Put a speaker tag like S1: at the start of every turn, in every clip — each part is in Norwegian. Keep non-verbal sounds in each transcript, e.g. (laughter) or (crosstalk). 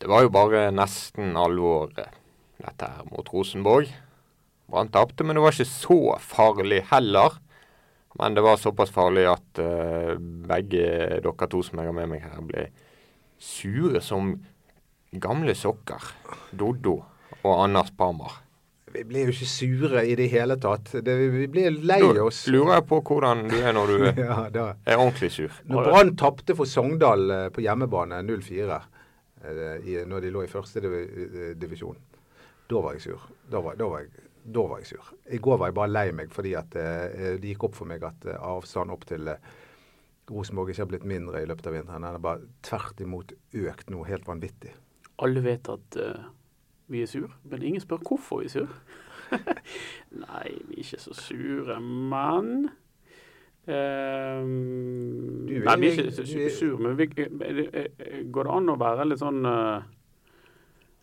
S1: Det var jo bare nesten alvor, eh, dette her mot Rosenborg. Brann tapte, men det var ikke så farlig heller. Men det var såpass farlig at eh, begge dere to som jeg har med meg her, ble sure som gamle sokker. Doddo og Anders Parmar.
S2: Vi blir jo ikke sure i det hele tatt. Det, vi blir lei
S1: Nå
S2: oss.
S1: lurer jeg på hvordan du er når du
S2: (laughs)
S1: er
S2: Ja, da.
S1: ordentlig sur.
S2: Når Brann tapte for Sogndal eh, på hjemmebane 0-4, eh, i- når de lå i første divi- eh, divisjon, da var jeg sur. Da var, da, var jeg, da var jeg sur. I går var jeg bare lei meg fordi at eh, det gikk opp for meg at eh, avstanden opp til eh, Rosenborg ikke har blitt mindre i løpet av vinteren. Den har bare tvert imot økt noe helt vanvittig.
S3: Alle vet at eh, vi er sur, men ingen spør hvorfor vi er sur. (laughs) Nei, vi er ikke så sure, men ehm,
S2: Du er-
S3: Nei, vi er ikke så
S2: du er-
S3: su- sur, men vi, eh, er det- er- eh, går det an å være litt sånn eh,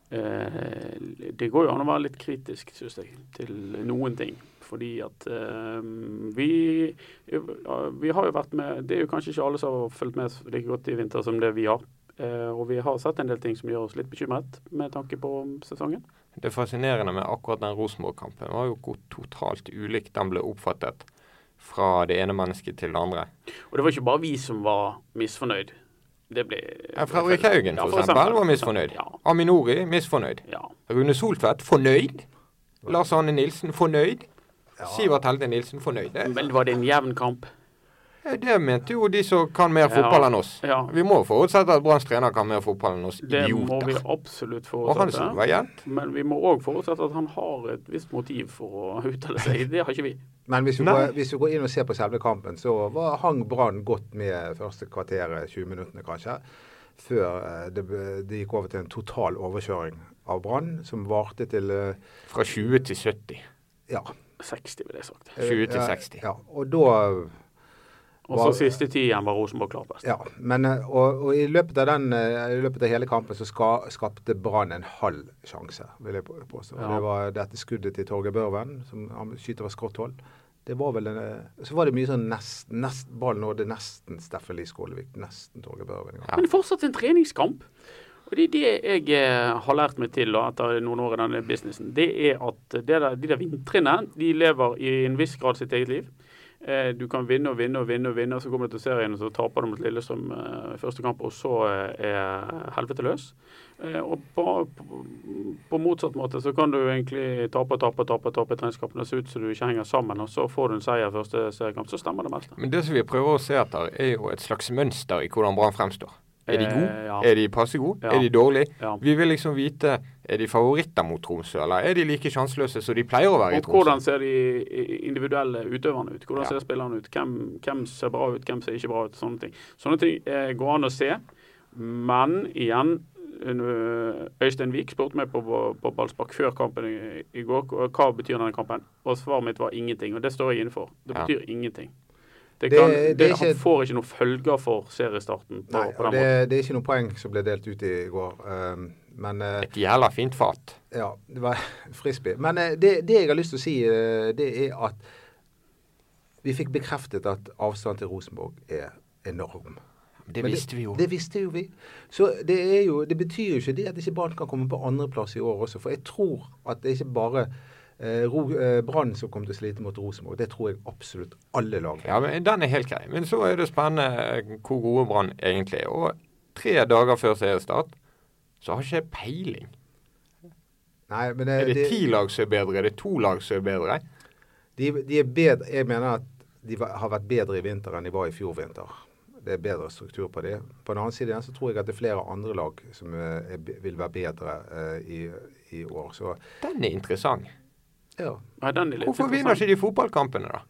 S3: eh, Det går jo an å være litt kritisk, syns jeg, til noen ting. Fordi at ehm, vi ja, vi har jo vært med Det er jo kanskje ikke alle som har fulgt med like godt i vinter som det vi har. Eh, og vi har sett en del ting som gjør oss litt bekymret med tanke på sesongen.
S1: Det fascinerende med akkurat den Rosenborg-kampen var jo hvor totalt ulikt den ble oppfattet fra det ene mennesket til det andre.
S3: Og det var ikke bare vi som var misfornøyd. Det ble
S1: Ja, Fredrik Haugen,
S3: Ja,
S1: for eksempel, var misfornøyd.
S3: Ja.
S1: Aminori, misfornøyd.
S3: ja.
S1: Rune Soltvedt, fornøyd. Lars Arne Nilsen, fornøyd. Sivert Helde Nilsen, fornøyd. Det,
S3: Men var det en jevn kamp?
S1: det mente jo de som kan mer
S3: Ja.
S1: fotball enn oss.
S3: Ja.
S1: Vi må forutsette at Branns trener kan mer fotball enn oss
S3: Det må vi
S1: idioter.
S3: absolutt
S1: Og han
S3: forutsette.
S1: som var igjen.
S3: Men vi må òg forutsette at han har et visst motiv for å (laughs) uttale seg. Det har ikke vi.
S2: Men hvis vi,
S1: Nei.
S2: går, hvis vi går inn og ser på selve kampen, så var, hang Brann godt med første kvarteret, 20 minuttene kanskje, før eh, det, ble- det gikk over til en total overkjøring av Brann, som varte til eh,
S1: Fra 20 til 70.
S2: ja.
S3: 60, ville jeg sagt.
S1: 20 til
S2: ja,
S1: 60.
S2: Ja, og da
S3: Og så siste ti igjen var Rosenborg klart best.
S2: Ja, men eh, og, og i, løpet av den, eh, i løpet av hele kampen så ska, skapte Brann en halv sjanse, vil jeg på- påstå.
S3: Ja.
S2: Det var dette skuddet til Torgeir Børven, som han skyter fra skråtthold. Det var vel en, eh, så var det mye sånn nest, nest, ballen nådde nesten Steffen Lie Skålevik, nesten Torgeir Børven. en gang.
S1: Ja.
S3: Men fortsatt en treningskamp. Og det er det jeg eh, har lært meg til da, etter noen år i denne businessen. Det er at det der, de der vintrene, de lever i en viss grad sitt eget liv. Eh, du kan vinne og vinne og vinne, og vinne, og så kommer du til serien, og så taper du mot Lillestrøm eh, i første kamp, og så eh, er helvete løs. Eh, og på, på, på motsatt måte så kan du egentlig tape og tape og tape, og tape i treningskampene, og se ut som du ikke henger sammen, og så får du en seier i første seriekamp, så stemmer det meste.
S1: Men det som vi prøver å se etter, er jo et slags mønster i hvordan Brann fremstår. Er de
S3: Eh,
S1: gode?
S3: ja.
S1: Er de passe gode?
S3: Ja.
S1: Er de dårlige?
S3: Ja.
S1: Vi vil liksom vite er de favoritter mot Tromsø, eller er de like sjanseløse som de pleier å være i
S3: Og
S1: Tromsø?
S3: hvordan ser de individuelle utøverne ut? Hvordan
S1: Ja.
S3: ser spillerne ut? Hvem, hvem ser bra ut, hvem ser ikke bra ut? Sånne ting. Sånne ting eh, går an å se, men igjen øh, Øystein Wiik spurte meg på, på ballspark før kampen i, i går hva hva betyr denne kampen. Og svaret mitt var ingenting, og det står jeg inne for. Det
S1: Ja.
S3: betyr ingenting. Det,
S2: Det-
S3: kan, det,
S2: det er ikke-
S3: han får ikke noen følger for seriestarten på,
S2: Nei,
S3: på
S2: og
S3: den måten.
S2: det, det er ikke noe poeng som ble delt ut i går, eh, men eh,
S1: Et jævla fint fat.
S2: Ja, det var (laughs) frisbee. Men eh, det, det jeg har lyst til å si, eh, det er at vi fikk bekreftet at avstanden til Rosenborg er enorm.
S1: Det
S2: Men
S1: visste vi jo.
S2: Det visste jo vi. Så det, er jo, det betyr jo ikke det at ikke Brann kan komme på andreplass i år også. For jeg tror at det er ikke bare eh, Ro- eh, Brann som kommer til å slite mot Rosenborg. Det tror jeg absolutt alle lag
S1: Ja, men Den er helt grei. Men så er det spennende eh, hvor gode Brann egentlig er. Og tre dager før seriestart så har ikke jeg peiling.
S2: Nei, men eh,
S1: Er det
S2: det-
S1: ti lag som er bedre? Er det to lag som er bedre?
S2: De, de er bedre, jeg mener at de va- har vært bedre i vinter enn de var i fjor vinter. Det er bedre struktur på det. På den annen side igjen så tror jeg at det er flere andre lag som eh, er, be- vil være bedre eh, i, i år. Så
S1: Den er interessant.
S2: ja.
S3: Nei, den er litt
S1: Hvorfor vinner
S3: interessant.
S1: ikke de fotballkampene, da?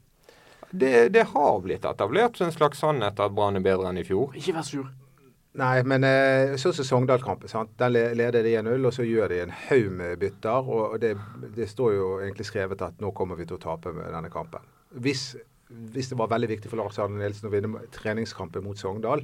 S1: Det, det har blitt etablert som en slags sannhet at Brann er bedre enn i fjor.
S3: Ikke vær sur.
S2: Nei, men eh, sånn som Sogndal-kampen. sant? Der le- leder de 1-0, og så gjør de en haug med bytter. Og og det, det står jo egentlig skrevet at nå kommer vi til å tape med denne kampen. Hvis, hvis det var veldig viktig for Lars Arne Nilsen å vinne treningskampen mot Sogndal,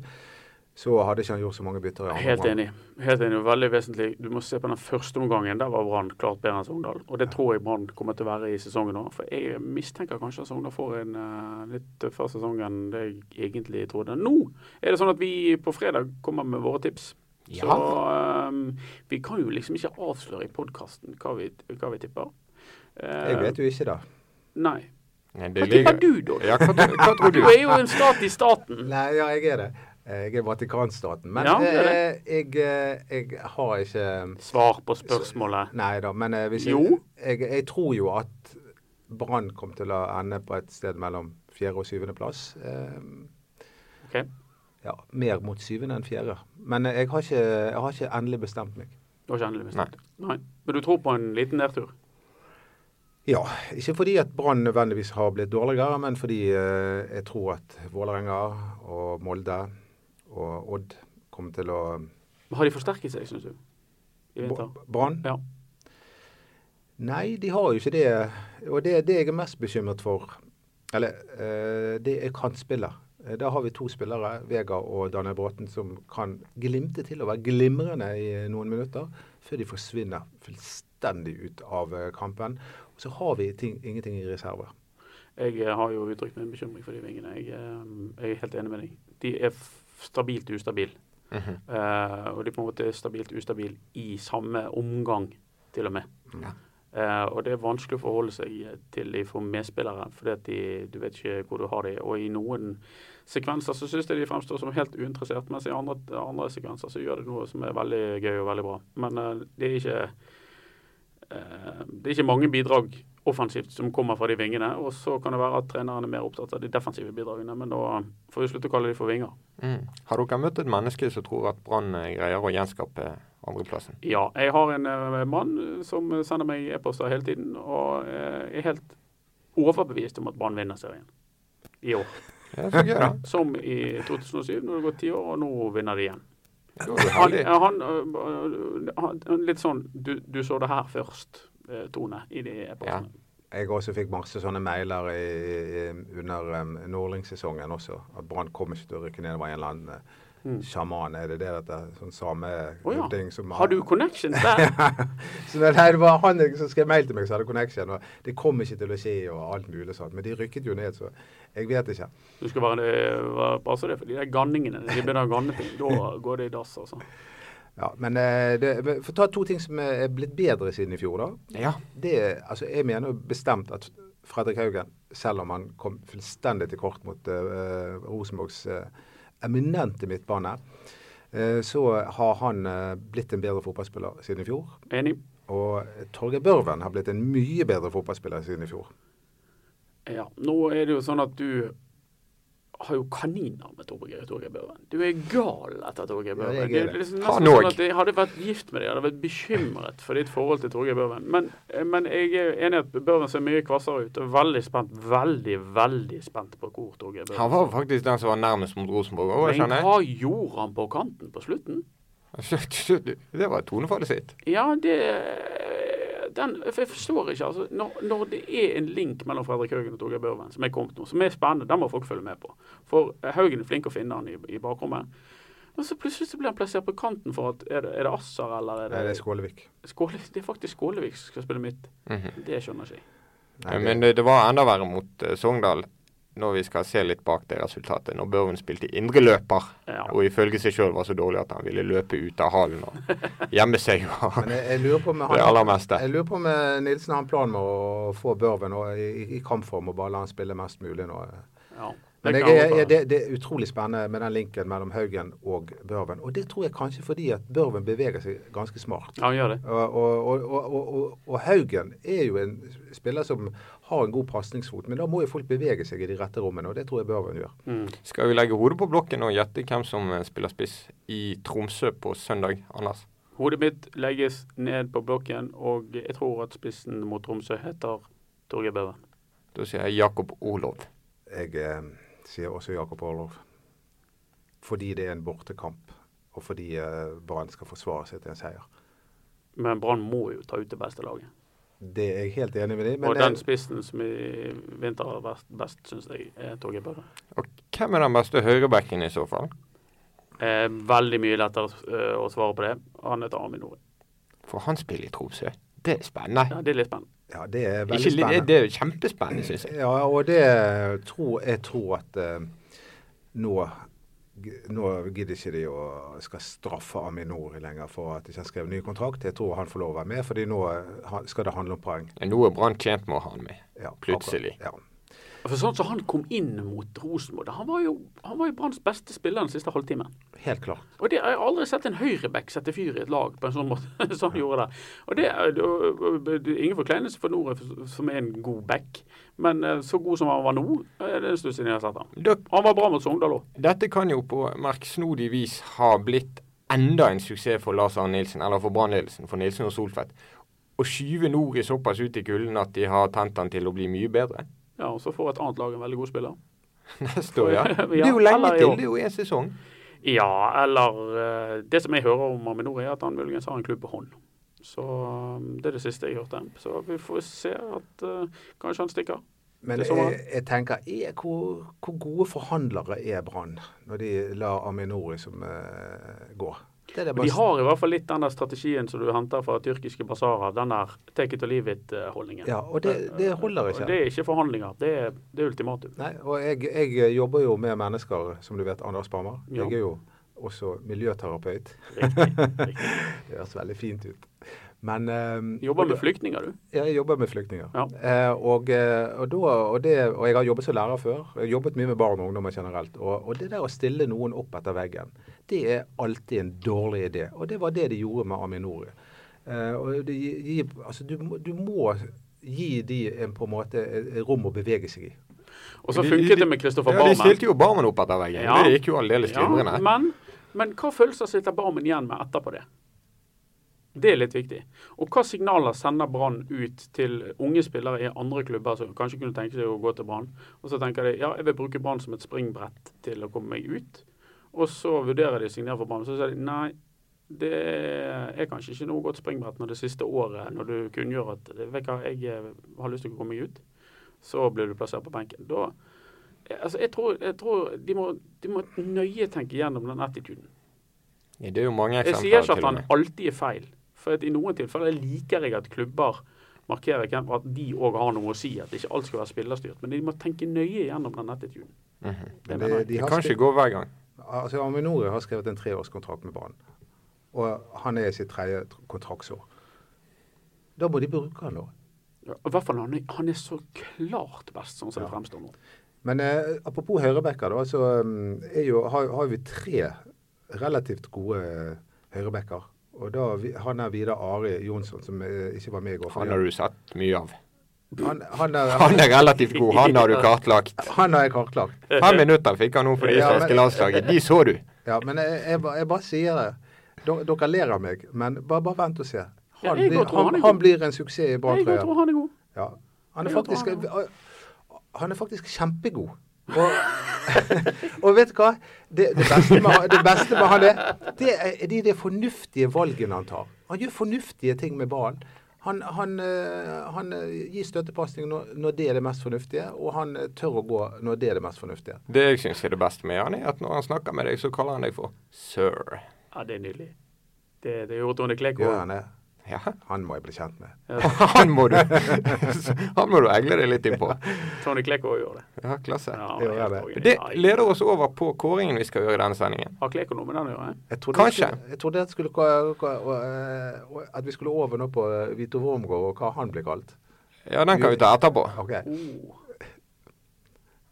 S2: så hadde ikke han gjort så mange bytter. i andre
S3: Helt
S2: omgang.
S3: enig. Helt enig, og Veldig vesentlig. Du må se på den første omgangen. Der var Brann klart bedre enn Sogndal. Og det tror jeg Brann kommer til å være i sesongen nå. For jeg mistenker kanskje at Sogndal får en eh, litt tøffere sesong enn det jeg egentlig trodde. Nå er det sånn at vi på fredag kommer med våre tips. Så
S1: Ja.
S3: eh, ehm, vi kan jo liksom ikke avsløre i podkasten hva, vi- hva vi tipper. Eh,
S2: Jeg vet jo ikke det.
S3: Nei.
S1: Nei,
S3: Hva
S1: det ligger-
S3: tipper du, da?
S1: Ja, hva, tro- hva tror
S3: (laughs) Du
S1: du?
S3: er jo en stat i staten.
S2: Nei, ja, jeg er det. Jeg er Vatikanstaten. Men
S3: Mm. Ja, det er
S2: eh, jeg, eh, jeg har ikke
S3: Svar på spørsmålet.
S2: Nei da, men eh, hvis
S3: Jo.
S2: Jeg, jeg, jeg tror jo at Brann kom til å ende på et sted mellom fjerde og syvende plass. Eh,
S3: Ok.
S2: ja, mer mot syvende enn fjerde. Men eh, jeg har ikke, jeg har ikke endelig bestemt meg.
S3: Du har ikke endelig bestemt deg? Nei. Men du tror på en liten nedtur?
S2: Ja, ikke fordi at Brann nødvendigvis har blitt dårligere, men fordi eh, jeg tror at Vålerenga og Molde og Odd kommer til å
S3: Har de forsterket seg, syns du? I vinter?
S2: Br- Brann?
S3: Ja.
S2: Nei, de har jo ikke det. Og det, det jeg er mest bekymret for, eller eh, det er kantspiller. Eh, Da har vi to spillere, Vegard og Daniel Bråten, som kan glimte til å være glimrende i eh, noen minutter, før de forsvinner fullstendig ut av eh, kampen. Og så har vi ting, ingenting i reserve.
S3: Jeg eh, har jo uttrykt min bekymring for de vingene. Jeg, eh, jeg er helt enig med deg. De er f- stabilt ustabile.
S1: Mhm.
S3: Eh, og de på en måte er stabilt ustabile i samme omgang, til og med.
S1: Ja.
S3: Eh, og det er vanskelig å forholde seg eh, til de for medspillere, fordi at de, du vet ikke hvor du har de. Og i noen sekvenser så syns jeg de fremstår som helt uinteressert, mens i andre, andre sekvenser så gjør de noe som er veldig gøy og veldig bra. Men eh, det er ikke Eh, Det er ikke mange bidrag offensivt som kommer fra de vingene. Og så kan det være at treneren er mer opptatt av de defensive bidragene, men da får vi slutte å kalle de for vinger.
S1: Mm. Har dere møtt et menneske som tror at Brann eh, greier å gjenskape andreplassen?
S3: Ja, jeg har en eh, mann som sender meg e-poster hele tiden, og eh, er helt overbevist om at Brann vinner serien i år.
S1: Ja, så gøy, da.
S3: Som i 2007, når det går ti år, og nå vinner de igjen.
S1: Da er du
S3: Han,
S1: heldig.
S3: eh, han, eh, han Litt sånn du, du så det her først, eh, Tone, i de e-postene.
S2: Jeg også fikk masse sånne mailer i, i, under um, Nordling-sesongen også. At Brann kommer ikke til å rykke ned. Det var en eller annen eh,
S3: Mm.
S2: sjaman, er det det dette? Sånn same
S3: Å ja.
S2: høvding som
S3: Har du connections der?
S2: (laughs)
S3: (laughs)
S2: Så det, nei, det var han som skrev mail til meg som hadde connection. Og det kom ikke til å skje og alt mulig sånt. Men de rykket jo ned, så jeg vet ikke.
S3: Du skal være, være- passe deg for de der ganningene. De begynner å ganne ting. Da går det i dass, altså.
S2: Ja, men eh, det, men for å ta to ting som er blitt bedre siden i fjor, da.
S1: Ja.
S2: Det, altså, jeg mener jo bestemt at Fredrik Haugen, selv om han kom fullstendig til kort mot eh, Rosenborgs eh, eminente midtbane, eh, så har han eh, blitt en bedre fotballspiller siden i fjor.
S3: Enig?
S2: Og Torgeir Børven har blitt en mye bedre fotballspiller siden i fjor.
S3: Ja. Nå er det jo sånn at du har jo kaniner med Torgeir Torgeir Børven. Du er gal etter Torgeir Børven.
S2: Ja, jeg er
S3: Det er
S2: det.
S3: liksom
S1: Han
S3: nesten sånn
S1: òg.
S3: at jeg hadde vært gift med deg, jeg hadde vært bekymret for ditt forhold til Torgeir Børven. Men, eh, men jeg er enig i at Børven ser mye kvassere ut, og veldig spent, veldig, veldig spent på hvor Torgeir Børven
S1: Han var faktisk den som var nærmest mot Rosenborg òg,
S3: Men
S1: skjønner
S3: hva gjorde han på kanten på slutten?
S1: jeg. (laughs) Det var tonefallet sitt.
S3: Ja, det den, for Jeg forstår ikke. altså, når, når det er en link mellom Fredrik Haugen og Torgeir Børven som er kommet nå, som er spennende, den må folk følge med på. For Haugen er flink å finne han i, i bakrommet. Og så plutselig så blir han plassert på kanten for at Er det, er det Asser eller er
S2: Nei, det
S3: det
S2: er Skålevik.
S3: Skåle, Det er faktisk Skålevik som skal spille midt.
S1: Mhm.
S3: Det skjønner ikke jeg.
S2: Nei, det-
S1: Men det, det var enda verre mot eh, Sogndal, når vi skal se litt bak det resultatet. Når Børven spilte indreløper,
S3: Ja.
S1: og ifølge seg sjøl var så dårlig at han ville løpe ut av hallen
S2: (laughs)
S1: og gjemme seg. Og
S2: Men jeg, jeg lurer på om
S1: det
S2: han,
S1: aller meste.
S2: jeg lurer på om eh, Nilsen har en plan med å få Børven og, i, i kampform og bare la han spille mest mulig nå.
S3: Ja,
S2: Men
S3: det
S2: jeg,
S3: kan
S2: er-
S3: godt
S2: er-
S3: være.
S2: det, det er utrolig spennende med den linken mellom Haugen og Børven. Og det tror jeg kanskje fordi at Børven beveger seg ganske smart.
S3: Ja, han gjør det.
S2: Og, og, og, og, og, og Haugen er jo en spiller som har en god pasningsfot, men da må jo folk bevege seg i de rette rommene, og det tror jeg Børven gjør.
S3: Mm.
S1: Skal vi legge hodet på blokken og gjette hvem som eh, spiller spiss i Tromsø på søndag, Anders?
S3: Hodet mitt legges ned på blokken, og jeg tror at spissen mot Tromsø heter Torgeir Børven.
S1: Da sier jeg Jakob Olov.
S2: Jeg eh, sier også Jakob Orlov. Fordi det er en bortekamp, og fordi eh, Brann skal forsvare seg til en seier.
S3: Men Brann må jo ta ut det beste laget.
S2: Det er jeg helt enig med deg,
S3: og
S2: men
S3: den
S2: jeg,
S3: spissen som i vinter har vært best, syns jeg, er Torgeir Børre.
S1: Og hvem er den beste høyrebacken i så fall?
S3: Eh, veldig mye lettere eh, å svare på det. Han heter Amin Nori.
S1: For han spiller i Tromsø. Det er spennende.
S3: Ja, det er litt spennende.
S2: ja, det er veldig
S1: Ikke, li- det,
S2: spennende.
S1: det er jo kjempespennende, syns jeg.
S2: Ja, og det tror jeg tror at eh, nå g- Nå gidder ikke de å skal straffe Aminor lenger for at de ikke har skrevet ny kontrakt. Jeg tror han får lov å være med, fordi nå eh, han- skal det handle om poeng.
S1: Nå er Brann tjent med å ha han med.
S2: Ja, akkurat.
S1: Plutselig.
S2: Ja.
S3: For sånn som han kom inn mot Rosenborg, han var jo, han var jo Branns beste spiller den siste halvtimen.
S2: Helt klart.
S3: Og det, Jeg har aldri sett en høyreback sette fyr i et lag på en sånn måte (laughs) som han gjorde der. Og det, er- og- og- Ingen forkleinelse for Nore, som er en god back, men eh, så god som han var nå, er det en stund siden jeg har sett ham.
S1: Da,
S3: Han var bra mot Sogndal òg.
S1: dette kan jo på merksnodig vis ha blitt enda en suksess for Lars Arne Nilsen, eller for Brann-ledelsen, for Nilsen og Solfedt. Å skyve Nori såpass ut i kulden at de har tent han til å bli mye bedre. (laughs)
S3: Ja, og så får et annet lag en veldig god spiller.
S1: Neste år, ja.
S3: Ja,
S1: Det er jo lenge
S3: eller i
S1: til.
S3: år.
S1: Det er jo én sesong.
S3: Ja, eller eh, Det som jeg hører om Aminor, er at han muligens har en klubb på hånd. Så eh, det er det siste jeg hørte. Så vi får se at eh, kanskje han stikker.
S2: Men
S3: Det er sånn,
S2: jeg, jeg tenker er, hvor, hvor gode forhandlere er Brann når de lar Aminori som eh, gå? Det er det
S3: De har i hvert fall litt den der strategien som du henter fra tyrkiske basarer. Den der take it or leave it-holdningen.
S2: Ja, og det, det holder ikke.
S3: Det er ikke forhandlinger, det er, det er ultimatum.
S2: Nei, og jeg, jeg jobber jo med mennesker, som du vet, Anders Barmer.
S3: Ja.
S2: Jeg er jo også miljøterapeut.
S3: Riktig. riktig.
S2: Det høres veldig fint ut. Men eh,
S3: Jobber med flyktninger, du.
S2: Ja, jeg jobber med flyktninger.
S3: Ja.
S2: Eh, og, eh, og, da, og, det, og jeg har jobbet som lærer før. Jeg har jobbet mye med barn og ungdommer generelt. Og, og det der å stille noen opp etter veggen, det er alltid en dårlig idé. Og det var det de gjorde med Aminori. Eh, og det gi- gi, altså, du, må- du må gi de en, på en måte et rom å bevege seg i.
S3: Og så
S1: De-
S3: funket
S1: de-
S3: det med Christopher
S1: Ja, de
S3: Barmen.
S1: stilte jo Barmen opp etter veggen.
S3: Ja.
S1: Det gikk jo aldeles glimrende.
S3: men, men hva følelser sitter Barmen igjen med etterpå det? Det er litt viktig. Og hva signaler sender Brann ut til unge spillere i andre klubber som kanskje kunne tenke seg å gå til Brann? Og så tenker de ja, jeg vil bruke Brann som et springbrett til å komme meg ut. Og så vurderer de å signere for Brann. Så sier de nei, det er kanskje ikke noe godt springbrett når det siste året, når du kunngjør at vet du hva, jeg eh, har lyst til å komme meg ut, så blir du plassert på benken. Da Altså, jeg tror, jeg tror de, må, de må nøye tenke gjennom den attituden.
S1: Det er jo mange
S3: Jeg
S1: eksempler.
S3: sier ikke
S1: til
S3: at
S1: og
S3: han
S1: med.
S3: alltid er feil, for at i noen tilfeller liker jeg at klubber markerer hvem, at de òg har noe å si, at ikke alt skal være spillerstyrt. Men de må tenke nøye gjennom den attituden. Det mener jeg.
S2: de
S1: Det
S2: har
S1: kan
S2: spilt-
S1: ikke gå hver gang.
S2: Altså, Aminori har skrevet en treårskontrakt med Brann. Og han er i sitt tredje tr- kontraktsår. Da må de bruke han nå.
S3: Ja, I hvert fall han, er- han er så klart best, sånn som det
S2: Ja.
S3: fremstår nå.
S2: Men eh, apropos høyrebacker, da, så mm, er jo, har, har vi tre relativt gode eh, høyrebacker. Og da vi- han er Vidar Ari Jonsson, som eh, ikke var med i går.
S1: Han har du sett mye
S3: (laughs)
S1: av.
S2: han, han, er, han,
S1: Han er relativt god, han har du
S3: (laughs)
S1: kartlagt.
S2: han har jeg kartlagt.
S1: Fem minutter fikk han nå for det
S2: Ja, men-
S1: islandske landslaget. De så du.
S2: Ja, men jeg, jeg, ba- jeg bare sier det. Dere- Dere ler av meg, men bare, bare vent og se.
S3: Ja,
S2: Han,
S3: jeg
S2: blir,
S3: går tror han
S2: han,
S3: er
S2: han
S3: god.
S2: blir en suksess i
S3: Jeg
S2: Brann-trøya.
S3: tror han er god.
S2: Ja. Han er
S3: Jeg tror
S2: faktisk
S3: han
S2: Han er faktisk kjempegod. Og, (laughs) og vet du hva? Det, det, beste med, han- det beste med han er, det er de, de fornuftige valgene han tar. Han gjør fornuftige ting med ballen. Han, han, eh, han eh, gir støttepasning når, når det er det mest fornuftige, og han eh, tør å gå når det er det mest fornuftige.
S1: Det jeg syns er det beste med han, er at når han snakker med deg, så kaller han deg for sir.
S3: Ja, det er nydelig. Det, det gjorde Tone Kleko.
S2: Gjør han det?
S1: Ja,
S2: Han må jeg bli kjent med.
S1: (laughs) han må du Han må du egle deg litt innpå.
S3: Tony Kleko gjør det.
S1: Ja, klasse.
S3: Ja,
S2: Det gjør
S3: helt
S2: det.
S3: konge.
S1: Det
S3: Ja,
S1: leder oss over på kåringen vi skal gjøre i denne sendingen.
S3: Har Kleko noe med den å gjøre?
S2: Jeg trodde
S1: Kanskje.
S2: Jeg, skulle, jeg trodde jeg skulle, gå- gå- og, eh, og at vi skulle over nå på eh, Vito Wormgård og hva han blir kalt.
S1: Ja, den kan vi ta etterpå.
S2: Ok,
S3: Oh.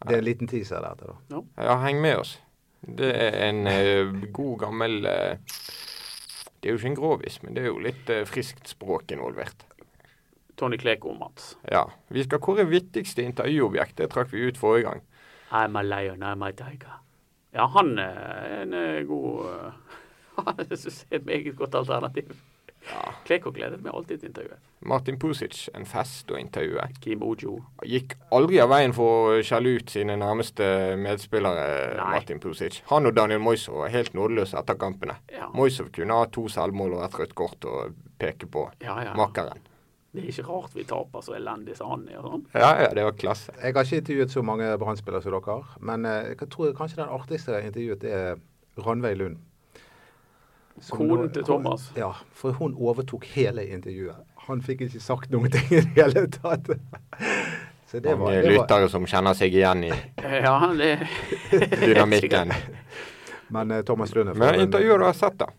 S2: Det er en liten teaser der til, da.
S1: Ja, heng med oss. Det er en eh, god gammel eh, Det er jo ikke en grovis, men det er jo litt eh, friskt språk involvert.
S3: Tony Kleko, Mats.
S1: Ja. Vi skal kåre viktigste intervjuobjekt. Det trakk vi ut forrige gang.
S3: I'm a lion, I'm a tiger. Ja, han eh, er en eh, god eh, (laughs) Jeg synes det er et meget godt alternativ. Kleko gledet meg alltid til intervjuet.
S1: Martin Pusic, en fest å intervjue.
S3: Kim Ojo.
S1: Gikk aldri av veien for å skjelle ut sine nærmeste medspillere,
S3: Nei.
S1: Martin Pusic. Han og Daniel Moisov var helt nådeløse etter kampene.
S3: Ja.
S1: Moisov kunne ha to selvmål og et rødt kort å peke på
S3: Ja, ja.
S1: makkeren.
S3: Det er ikke rart vi taper så elendig som han er. og Sånn.
S1: Ja, ja, det var klasse.
S2: Jeg har ikke intervjuet så mange brannspillere som dere har, men eh, jeg tror kanskje den artigste jeg har intervjuet er Ranveig Lund. Som
S3: Konen
S2: nå-
S3: til Thomas.
S2: Ja, for hun overtok hele intervjuet. Han fikk ikke sagt noen ting i det hele tatt. Så det var,
S1: Mange
S2: det var (laughs)
S3: (laughs)
S1: lyttere som kjenner seg igjen i
S3: Ja, det
S1: dynamikken.
S2: Men eh, Thomas Lund er for-
S1: Men intervjuer du har sett, da.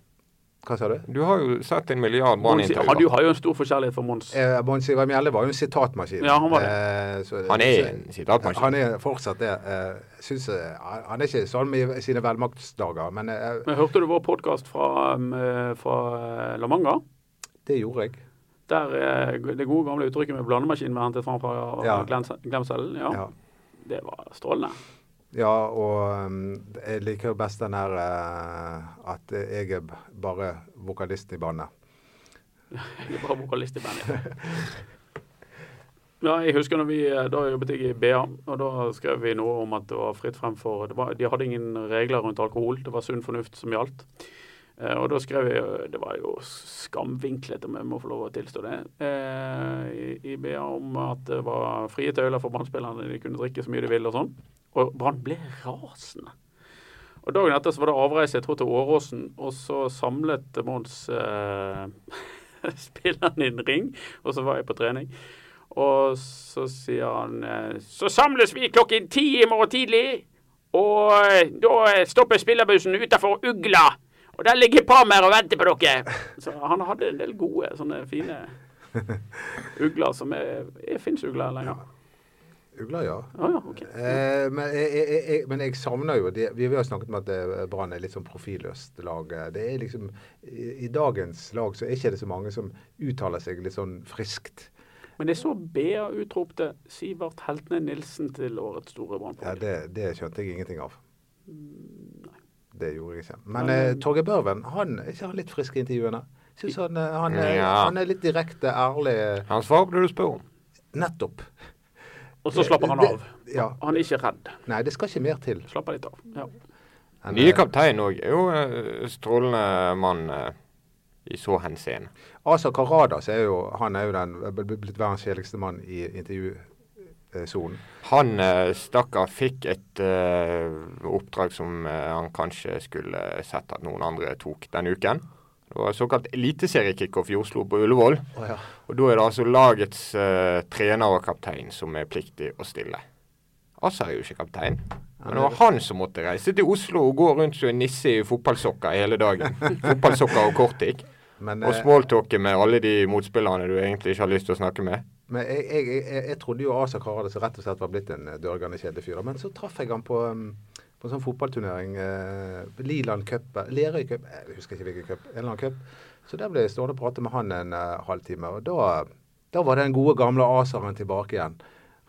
S2: Hva sa du?
S1: Du har jo sett en milliard
S3: Mons, ja, du
S1: Brann-intervjuer.
S3: har jo en stor forskjellighet for Mons.
S2: Eh, Mons Ivar Mjelde var jo en sitatmaskin.
S3: Ja, han var det.
S2: Eh, så-
S1: Han er en
S2: så-
S1: sitatmaskin.
S2: Han er fortsatt det. Eh, synes, eh, han han er ikke sånn med sine velmaktsdager, men eh,
S3: Men hørte du vår podkast fra, um, eh, fra eh, La Manga?
S2: det gjorde jeg.
S3: Der eh, det gode gamle uttrykket med blandemaskin var hentet fram fra
S2: Ja.
S3: ja. Glemselen. Ja.
S2: Ja.
S3: Det var strålende.
S2: Ja, og um, jeg liker jo best den her eh, at jeg er b- bare vokalisten i bandet.
S3: Jeg er bare vokalist i bandet. Ja, jeg husker når vi, eh, Da jobbet jeg i BA, og da skrev vi noe om at det var fritt frem for det var, De hadde ingen regler rundt alkohol, det var sunn fornuft som gjaldt. Eh, og da skrev jeg eh, Det var jo skamvinklet, om jeg må få lov å tilstå det, eh, i, i BA om at det var frie tøyler for Brann-spillerne, de kunne drikke så mye de ville og sånn. Og Brann ble rasende. Og Dagen etter så var det avreise jeg tror til Åråsen, og så samlet Mons eh, (laughs) spillerne i en ring, og så var jeg på trening. Og så sier han eh, Så samles vi klokken ti i morgen tidlig, og eh, da eh, stopper spillerbussen utafor Ugla. Og der ligger Palmer og venter på dere. Så han hadde en del gode, sånne fine ugler som er, er Fins ugler lenger?
S2: Ugla, ja.
S3: Å ja, OK.
S2: Eh, men, jeg, jeg, jeg, men jeg savner jo det. Vi har jo snakket om at eh, Brann er litt sånn profilløst lag. Det er liksom, i, I dagens lag så er ikke det så mange som uttaler seg litt sånn friskt.
S3: Men jeg så BA utropte Sivert Heltne Nilsen til årets store
S2: Ja,
S3: brannfolk.
S2: det, det skjønte jeg ingenting av. Det gjorde jeg ikke. Men
S3: Nei.
S2: eh, Torgeir Børven, han er ikke han litt frisk i intervjuene? Syns han, eh, han, er,
S1: Ja.
S2: han er litt direkte, ærlig. eh,
S1: Han svarer på det du spør om.
S2: Nettopp.
S3: Og så slapper han
S2: Det-
S3: av.
S2: Ja.
S3: Han er ikke redd.
S2: Nei, det skal ikke mer til.
S3: Slapper litt av. Ja.
S2: enn,
S1: Nye
S2: eh,
S1: kaptein òg er jo eh, strålende mann eh, i så henseende.
S2: eh, Asa Karadas er jo, han er jo den eh, bl- bl- blitt verdens kjedeligste mann i intervjusonen.
S1: Han eh, stakkar fikk et eh, oppdrag som eh, han kanskje skulle sett at noen andre tok den uken. Det var såkalt eliteseriekickoff i Oslo på Ullevål.
S2: Å ja.
S1: Og da er det altså lagets eh, trener og kaptein som er pliktig å stille. Assa er jo ikke kaptein. Men det var han som måtte reise til Oslo og gå rundt som en nisse i fotballsokker hele dagen. fotballsokker og korttikk.
S2: Men,
S1: Og
S2: eh,
S1: smalltalke med alle de motspillerne du egentlig ikke har lyst til å snakke med.
S2: men jeg, jeg, jeg, jeg trodde jo Asa Karadas rett og slett var blitt en eh, dørgende kjedelig fyr. da. Men så traff jeg han på, um, på en sånn fotballturnering. Eh, Liland Cup eh, Lerøy Cup Jeg husker ikke hvilken cup. En eller annen cup. Så der ble jeg stående og prate med han en eh, halvtime. Og da, da var den gode gamle Asaren tilbake igjen.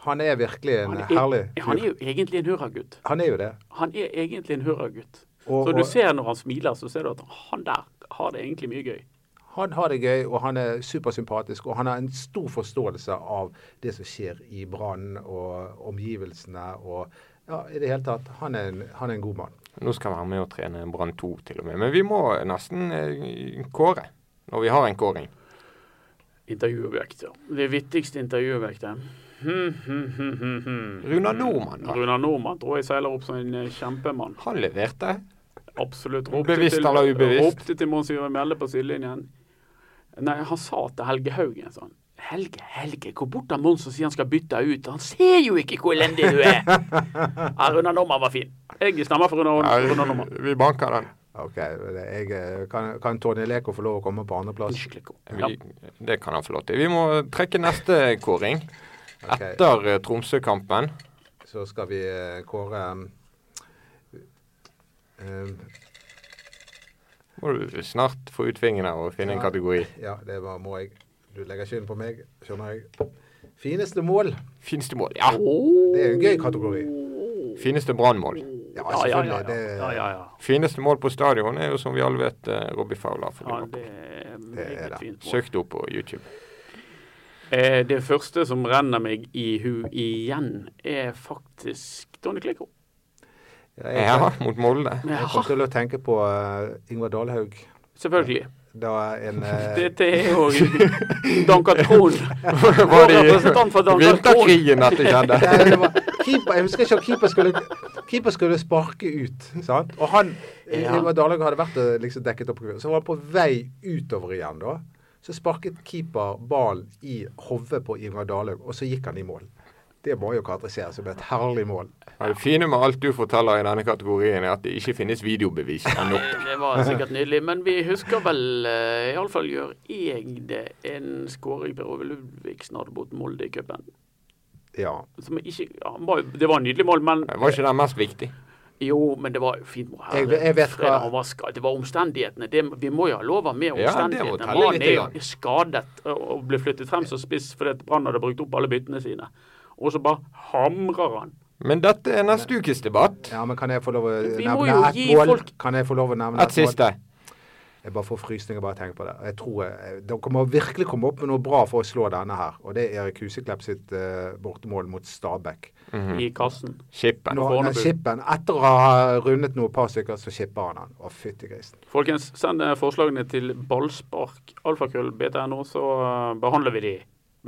S2: Han er virkelig en
S3: Han er,
S2: herlig
S3: han er
S2: fyr.
S3: jo egentlig en hurragutt.
S2: Han er jo det.
S3: Han er egentlig en hurragutt.
S2: Og-
S3: Så du
S2: og-
S3: ser når han smiler, så ser du at han der har det egentlig mye gøy.
S2: Han har det gøy, og han er supersympatisk. Og han har en stor forståelse av det som skjer i Brann og omgivelsene. Og ja, i det hele tatt, han er en, han er en god mann.
S1: Nå skal han være med og trene Brann 2 til og med. Men vi må nesten eh, kåre. Når vi har en kåring.
S3: Intervjuobjekter. Det viktigste intervjuobjektet. Hmm, hmm, hmm, hmm, hmm.
S1: Runar Nordmann, da.
S3: Runar Nordmann tror jeg seiler opp som en eh, kjempemann.
S1: Han leverte.
S3: Absolutt.
S1: Bevisst eller ubevisst?
S3: Ropte til Mons Ivar Mjelde på sidelinjen. Nei, han sa til Helge Haugen sånn Helge, Helge, gå bort til Mons og si han skal bytte deg ut. Han ser jo ikke hvor elendig du er! Ja, Runar Nordmann var fin. Jeg stemmer for Runar Runar Nordmann.
S1: vi banker den.
S2: Ok, jeg, eh, Kan, kan Tony Leko få lov å komme på andreplass?
S3: Skikkelig god. Ja.
S1: Vi, det kan han få lov til. Vi må trekke neste kåring.
S2: Ok,
S1: Etter eh, Tromsø-kampen.
S2: så skal vi eh, kåre eh,
S1: Må du snart få ut fingrene og finne en kategori.
S2: Ja, det var, må jeg. Du legger skylden på meg, skjønner jeg. Fineste mål.
S1: Fineste mål. Ja!
S2: Det er jo en gøy kategori.
S1: Fineste brannmål.
S2: Ja, altså,
S3: Ja, ja, ja.
S2: selvfølgelig.
S3: ja. ja,
S2: Det,
S3: ja, ja.
S1: Fineste mål på stadion er jo, som vi alle vet, eh, Robbie Fowler. for
S3: ja
S1: Liverpool.
S3: det er
S2: er
S3: meget
S2: det.
S3: fint. mål.
S1: Søk det opp på YouTube.
S3: Eh, Det første som renner meg i hu igjen, er faktisk Tony Klikko.
S2: jeg,
S1: Ja, mot Molde.
S2: jeg kom til å tenke på eh, Ingvar Dalhaug.
S3: Selvfølgelig.
S2: Da en (laughs) eh,
S3: Dette er jo Dankatron.
S1: (laughs) Var det
S3: Representant for
S1: i
S3: Danmark.
S1: vinterkrigen at det skjedde?
S2: Nei, det var keeper, Jeg husker ikke om keeper skulle, keeper skulle sparke ut. sant? Og han
S3: Ja.
S2: Ivar Dalhaug hadde vært eh, liksom dekket opp. Så var han på vei utover igjen da. Så sparket keeper ballen i hodet på Ivar Dalhaug, og så gikk han i mål. Det må jo karakteriseres som et herlig mål.
S1: Ja, Det fine med alt du forteller i denne kategorien, er at det ikke finnes videobevis ennå.
S3: Eh, Det var sikkert nydelig, men vi husker vel eh, Iallfall gjør jeg det en skåring Per Ove Ludvigsen hadde mot Molde i cupen.
S2: Ja.
S3: Som ikke ja, han var jo- Det var en nydelig mål, men
S1: Var ikke den mest viktig?
S3: jo, men det var jo fint. mål.
S2: Jeg- jeg vet
S3: Fred
S2: hva-
S3: han var skad- Det var omstendighetene. Det, vi må jo ha lov
S1: det
S3: med
S1: må
S3: omstendighetene.
S1: telle
S3: Mannen
S1: litt
S3: er
S1: grann.
S3: jo skadet og- og ble flyttet frem som spiss fordi at Brann hadde brukt opp alle byttene sine. Og så bare hamrer han.
S1: Men dette er neste ukes debatt.
S2: ja, men kan jeg få lov å
S3: Vi må
S2: nevne
S3: jo
S2: ett
S3: gi
S2: mål?
S3: folk-
S2: Kan jeg få lov å
S1: Et
S2: nevne ett mål?
S1: siste.
S2: Jeg bare får frysninger bare jeg tenker på det. Jeg tror jeg, Dere må virkelig komme opp med noe bra for å slå denne her. Og det er Erik Huseklepp sitt eh, bortemål mot Stabæk.
S1: Mhm.
S3: i
S1: Mm.
S3: kassen.
S1: Skippen.
S2: Nå,
S3: Fornebu.
S2: nei, skippen, etter å ha rundet noen par stykker, så skipper han han. Å, fytti grisen.
S3: Folkens, send eh, forslagene til ballspark alfakrøll btno, så eh, behandler vi de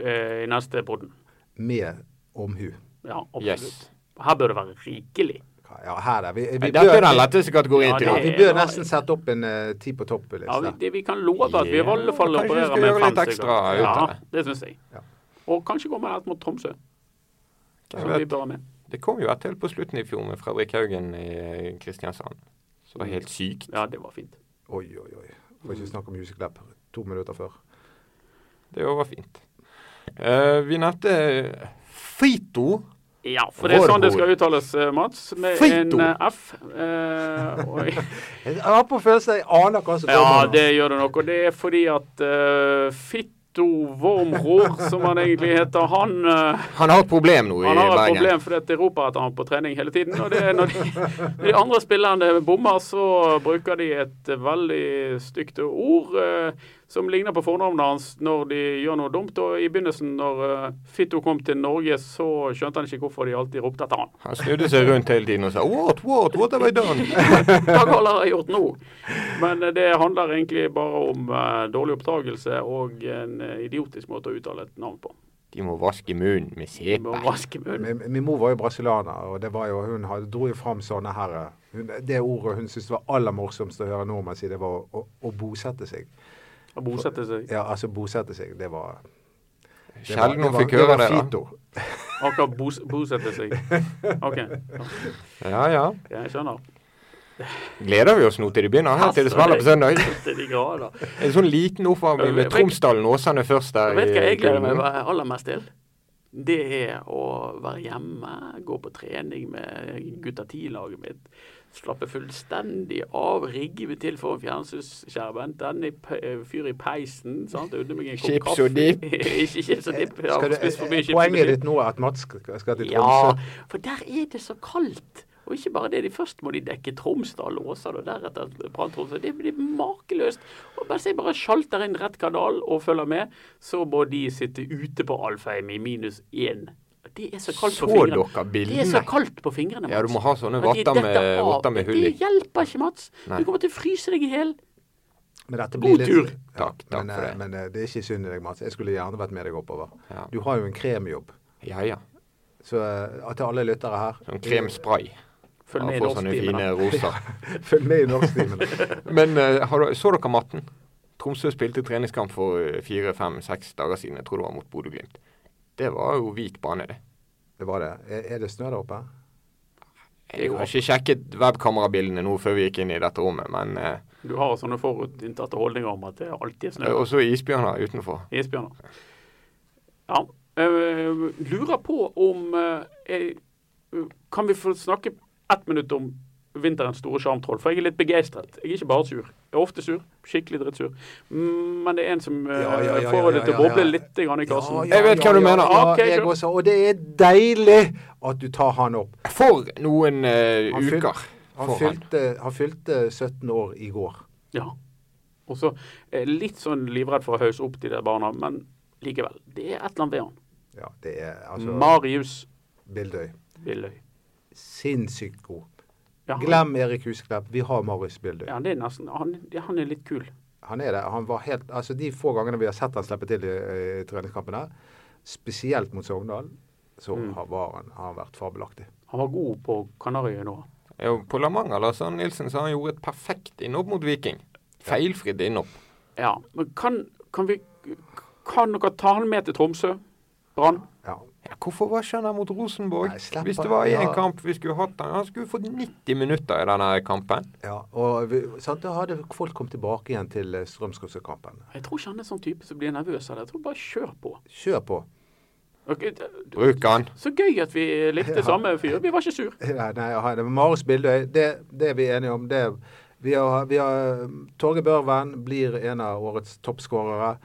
S3: eh, i neste podden.
S2: Med omhu.
S3: Ja, absolutt.
S1: Yes.
S3: Her bør det være rikelig.
S2: Ja, her er vi. vi
S1: Dette er den
S2: bør,
S1: letteste kategorien til
S2: ja,
S1: nå.
S2: vi bør nesten sette opp en eh, ti på liksom.
S3: Ja, vi,
S2: topp-liste.
S3: det, vi kan love at vi i
S1: Ja,
S3: alle fall
S1: kanskje vi
S3: opererer
S1: skal
S3: med
S1: gjøre
S3: fem
S1: litt ekstra ut
S3: Ja,
S1: av det.
S3: det syns jeg.
S2: Ja.
S3: Og kanskje kommer det et mot Tromsø, som
S1: vet.
S3: vi bør ha med.
S1: Det kom jo et til på slutten i fjor med Fredrik Haugen i eh, Kristiansand. Så det var helt sykt.
S3: Ja, det var fint.
S2: Oi, oi, oi. Får ikke snakke om Huseklepp to minutter før.
S1: Det var fint. Eh, vi nevnte Fito.
S3: Ja, for det er sånn det
S1: Vårhol.
S3: skal uttales, eh, Mats, med
S1: Feito.
S3: en eh, F. Eh, og,
S2: Jeg har på følelsen jeg aner hva som
S3: Ja,
S2: kommer nå.
S3: det gjør det nok. Og det er fordi at eh, Fitto Wormror, som han egentlig heter, han, eh,
S1: Han har et problem nå i
S3: han har et
S1: Bergen.
S3: problem fordi at de roper etter han på trening hele tiden. Og det er når de, når de andre spillerne bommer, så bruker de et veldig stygt ord eh, som ligner på fornavnet hans når de gjør noe dumt. Og i begynnelsen, når eh, Fitto kom til Norge, så skjønte han ikke hvorfor de alltid ropte etter han.
S1: Han snudde seg rundt hele tiden og sa What, what, what have I done?
S3: Hva galt har jeg gjort nå? Men eh, det handler egentlig bare om eh, dårlig oppdragelse og en eh, idiotisk måte å uttale et navn på.
S1: De må vaske munnen med
S3: Vi må
S1: sepe.
S3: vaske munnen.
S2: Min, min mor var jo brasilianer, og det var jo, hun hadde, dro jo fram sånne her hun, Det ordet hun syntes var aller morsomst å høre nordmenn si, det var å, å, å bosette seg.
S3: Og bosette seg.
S2: Ja, altså bosette seg, det var det var-
S1: Sjelden
S2: det
S1: hun
S2: var-
S1: fikk høre det. da.
S2: Fito.
S3: Akkurat bos bosette seg. OK. ok,
S1: Ja, ja.
S3: Jeg skjønner.
S1: Gleder vi oss nå til de begynner her til det smeller på søndag?
S3: Til de grader.
S1: En sånn liten oppvarming med Tromsdalen og Åsane først der.
S3: Jeg vet hva
S1: i
S3: jeg gleder meg
S1: kulden.
S3: aller mest til. Det er å være hjemme, gå på trening med gutta 10-laget mitt. Slappe fullstendig av, rigge meg til foran fjernsynsskjermen. Tenne i pe- eh, fyr i peisen. sant? Unne meg en kopp
S1: Chips
S3: kaffe.
S1: og dipp.
S3: (laughs) Ikke chips og dipp. Jeg
S2: Eh, Skal
S3: har
S2: du,
S3: spist for mye chips. og
S2: poenget
S3: dipp.
S2: ditt nå er at Mats skal skal til
S3: Ja,
S2: Tromsø?
S3: for der er det så kaldt. Og ikke bare det, de først må de dekke Tromsdal og Åsane, og deretter Brann Tromsø. Det blir makeløst. Og mens jeg bare sjalter inn rett kanal og følger med, så må de sitte ute på Alfheim i minus én. Det er så kaldt på
S1: Så
S3: fingrene.
S1: dere
S3: Det er så
S1: bildene?
S3: kaldt på fingrene, Mats.
S1: Ja, du må ha sånne
S3: At de
S1: votter med-
S3: detter av.
S1: votter med hull i.
S3: Det hjelper ikke, Mats.
S1: Nei.
S3: Du kommer til å fryse deg i hjel.
S2: Men dette
S3: God
S2: litt-
S3: tur.
S2: Ja,
S1: Takk, takk
S2: men,
S1: for
S2: eh,
S1: det.
S2: Men eh, det er ikke synd i deg, Mats. Jeg skulle gjerne vært med deg oppover.
S1: Ja.
S2: Du har jo en kremjobb.
S1: Ja, ja.
S2: Så eh, til alle lyttere her
S1: Sånn kremspray.
S3: Følg med i
S1: Ja, får sånne
S3: norsktimene.
S1: fine
S3: (laughs)
S1: roser.
S2: (laughs) Følg med i norsktimen.
S1: Men eh, har du, så dere matten? Tromsø spilte treningskamp for eh, fire, fem, seks dager siden. Jeg tror det var mot Bodø-Glimt. Det var jo hvit bane, det.
S2: Det var det. Er, er det snø der oppe?
S1: Jeg har ikke sjekket webkamerabildene nå før vi gikk inn i dette rommet, men eh,
S3: Du har sånne forutinntatte holdninger om at det alltid er snø.
S1: også isbjørner utenfor.
S3: Isbjørner. Ja. øh, lurer på om øh, jeg- øh, Kan vi få snakke ett minutt om vinterens store sjarmtroll? For jeg er litt begeistret. Jeg er ikke bare sur. Jeg er ofte sur. Skikkelig drittsur. Mm, Men det er en som øh,
S2: Ja, ja, ja,
S3: får det
S2: ja,
S3: til å
S2: ja, ja.
S3: boble litt grann i kassen.
S1: ja. Jeg vet hva du mener.
S2: Ja,
S3: Ok,
S2: jeg
S3: sure.
S2: også, og det er deilig at du tar han opp.
S1: For noen eh,
S2: Han fyl-
S1: uker.
S2: Han
S1: får han.
S2: fylte, han fylte 17 år i går.
S3: Ja. Og så eh, litt sånn livredd for å hause opp de der barna, men likevel. Det er et eller annet ved han.
S2: Ja, det er altså
S3: Marius
S2: Bildøy.
S3: Billøy.
S2: Sinnssykt god.
S3: Ja, han,
S2: Glem Erik Husklepp, vi har Marius Bildøy.
S3: ja, det er nesten, han, han er litt kul.
S2: Han er det. Han var helt Altså, de få gangene vi har sett han slippe til i, i treningskampene, spesielt mot Sogndal, så har, var han, har han vært fabelaktig.
S3: Han var god på Kanariøyene òg.
S1: Jo, På La Manga Lars Arne Nilsen så har han gjorde et perfekt innhopp mot Viking. Feilfritt innhopp.
S3: Ja, men kan, kan vi Kan dere ta han med til Tromsø? Brann?
S2: Ja.
S1: Ja, hvorfor var ikke han der mot Rosenborg?
S2: Nei, slapp
S1: Hvis det
S2: av,
S1: var én
S2: ja.
S1: kamp vi skulle hatt han, han skulle fått 90 minutter i denne kampen.
S2: Ja, og vi, sant, Da hadde folk kommet tilbake igjen til eh, Strømsgodset-kampen.
S3: Jeg tror ikke han er sånn type som blir nervøs av det. Jeg tror bare kjør på.
S2: Kjør på.
S3: Og, eh,
S1: Bruk han.
S3: Så gøy at vi likte
S2: Ja.
S3: samme fyr. Vi var ikke sur.
S2: (laughs) Nei, nei ha- det var Marius Bildøy, det, det er vi enige om. Det, vi har, vi har, Torge Børven blir en av årets toppskårere.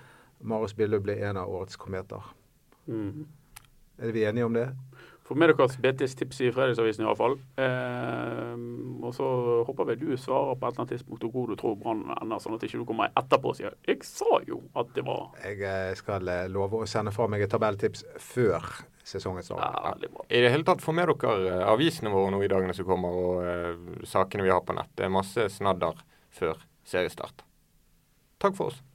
S2: Marius Bildøy blir en av årets kometer.
S3: Mm.
S2: Er vi enige om det?
S3: Få med dere BTs tips i Fredagsavisen iallfall. Eh, og så håper vi du svarer på et eller annet tidspunkt hvor god du tror Brann ender, sånn at ikke du kommer etterpå og sier 'Jeg sa jo at det var
S2: Jeg eh, skal eh, love å sende fra meg et tabelltips før sesongen starter.
S3: ja, veldig bra'.
S1: I det hele tatt, få med dere eh, avisene våre nå i dagene som kommer, og eh, sakene vi har på nett. Det er masse snadder før seriestart. Takk for oss.